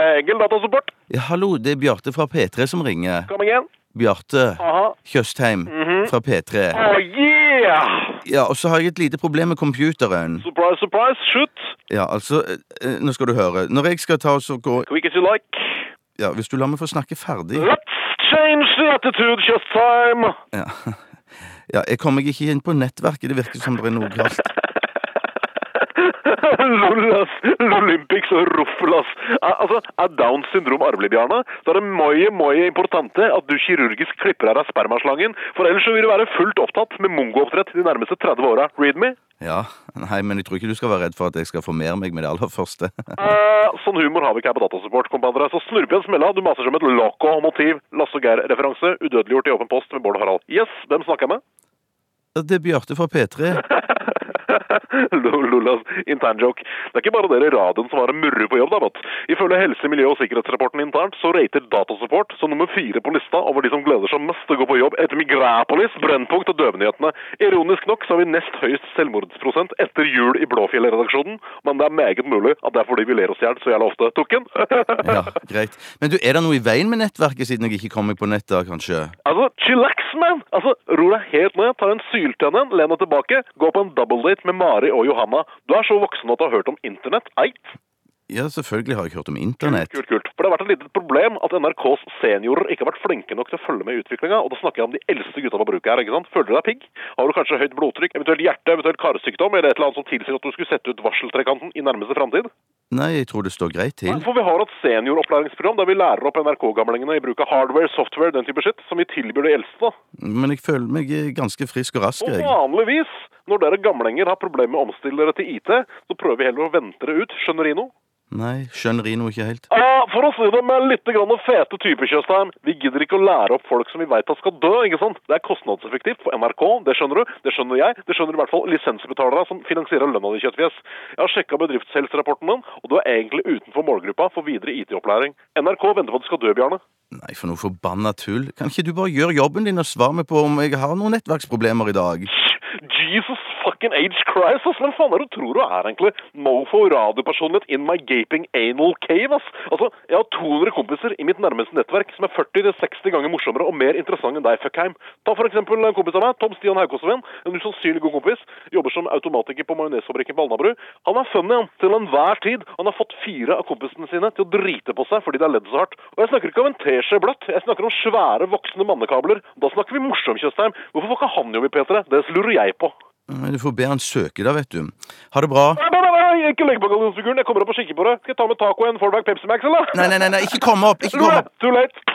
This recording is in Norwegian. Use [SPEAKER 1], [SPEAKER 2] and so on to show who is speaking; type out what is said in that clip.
[SPEAKER 1] Egil datasupport.
[SPEAKER 2] Ja, hallo, det er Bjarte fra P3 som ringer.
[SPEAKER 1] Kom igjen.
[SPEAKER 2] Bjarte
[SPEAKER 1] Aha.
[SPEAKER 2] Tjøstheim fra P3.
[SPEAKER 1] Oh yeah!
[SPEAKER 2] Ja, og så har jeg et lite problem med computeren.
[SPEAKER 1] Surprise, surprise. Shoot.
[SPEAKER 2] Ja, altså, eh, eh, nå skal du høre. Når jeg skal ta og så gå
[SPEAKER 1] Quick as you like.
[SPEAKER 2] Ja, hvis du lar meg få snakke ferdig
[SPEAKER 1] Let's change the attitude just time.
[SPEAKER 2] Ja, ja jeg kommer ikke inn på nettverket, det virker som det er noe galt.
[SPEAKER 1] Lollas, Lolympics og Ruffelas. Altså, er Downs syndrom arvelig, Bjarne, så er det mye, mye importante at du kirurgisk klipper her av spermaslangen, for ellers så vil du være fullt opptatt med mongooppdrett de nærmeste 30 åra. Read me?
[SPEAKER 2] Ja, nei, men jeg tror ikke du skal være redd for at jeg skal formere meg med det aller første.
[SPEAKER 1] Eh, sånn humor har vi ikke her på Datasupport, kompadre. Så slurp igjen smella, du maser som et loco-motiv. Lasse og Geir-referanse, udødeliggjort i åpen post med Bård og Harald. Yes, hvem snakker jeg med?
[SPEAKER 2] Det er Bjarte fra P3.
[SPEAKER 1] Lollas internjoke. Det er ikke bare dere i radioen som har en murre på jobb, da, vet du. Ifølge helse-, miljø- og sikkerhetsrapporten internt så rater Datasupport som nummer fire på lista over de som gleder seg mest til å gå på jobb etter Migrapolis, Brennpunkt og Døvnyhetene. Ironisk nok så har vi nest høyest selvmordsprosent etter jul i Blåfjell-redaksjonen, men det er meget mulig at det er fordi vi ler oss i hjel så jævla ofte. Tukken?
[SPEAKER 2] Ja, greit. Men du, er det noe i veien med nettverket siden jeg ikke kom meg på nett da, kanskje?
[SPEAKER 1] Altså, chillax, man! Altså, Ro deg helt ned, ta en syltenne, len deg tilbake, gå på en doubledate med Mari og Johanna. Du er så voksen at du har hørt om internett, eit?
[SPEAKER 2] Ja, selvfølgelig har jeg hørt om internett.
[SPEAKER 1] Kult, kult. For det har vært et lite problem at NRKs seniorer ikke har vært flinke nok til å følge med i utviklinga, og da snakker jeg om de eldste gutta på bruket her, ikke sant? Føler du deg pigg? Har du kanskje høyt blodtrykk, eventuelt hjerte, eventuelt karsykdom, eller et eller annet som tilsier at du skulle sette ut varseltrekanten i nærmeste framtid?
[SPEAKER 2] Nei, jeg tror det står greit til.
[SPEAKER 1] For vi har et senioropplæringsprogram der vi lærer opp NRK-gamlingene i bruk av hardware, software, den type shit, som vi tilbyr de eldste, da.
[SPEAKER 2] Men jeg føler meg eh, ganske frisk og rask,
[SPEAKER 1] Og
[SPEAKER 2] jeg.
[SPEAKER 1] vanligvis, når dere gamlinger har problemer med å omstille dere til IT, så prøver vi heller å vente dere ut. Skjønner Rino?
[SPEAKER 2] Nei, skjønner Rino ikke helt.
[SPEAKER 1] Ja, for å si det med litt grann fete typer, Tjøstheim. Vi gidder ikke å lære opp folk som vi veit skal dø, ikke sant? Det er kostnadseffektivt for NRK, det skjønner du. Det skjønner jeg. Det skjønner i hvert fall lisensbetalere som finansierer lønna di, kjøttfjes. Jeg har sjekka bedriftshelserapporten din, og du er egentlig utenfor målgruppa for videre IT-opplæring. NRK venter på at du skal dø, Bjarne.
[SPEAKER 2] Nei, for noe forbanna tull. Kan ikke du bare gjøre jobben din og svare meg på om jeg har noen nettverksproblemer i dag?
[SPEAKER 1] Jesus fucking age Christ, ass! Hvem faen er det du tror du er, egentlig? Mofo radiopersonlighet in my gaping anal cave, ass! Altså, jeg har 200 kompiser i mitt nærmeste nettverk som er 40-60 ganger morsommere og mer interessante enn deg, fuckheim. Ta for eksempel en kompis av meg, Tom Stian Haukåsven, en usannsynlig god kompis, jobber som automatiker på majonesfabrikken på Alnabru. Han er funny, han, til enhver tid. Han har fått fire av kompisene sine til å drite på seg fordi de har ledd så hardt. Og jeg snakker ikke om en teskje bløtt, jeg snakker om svære voksne mannekabler. Da snakker vi morsom, Tjøstheim. Hvorfor får ikke han jobb i P3? Det lurer jeg på.
[SPEAKER 2] Nei, Du får be han søke, da, vet du. Ha det bra.
[SPEAKER 1] Nei, nei, nei, nei, ikke legg på gallionsfiguren. Jeg kommer opp og kikker på det. Skal jeg ta med taco og en Fallback Pepsi Max, eller?
[SPEAKER 2] Nei, nei, nei, nei ikke komme opp! Ikke
[SPEAKER 1] Too
[SPEAKER 2] komme
[SPEAKER 1] late.
[SPEAKER 2] opp!
[SPEAKER 1] Too late.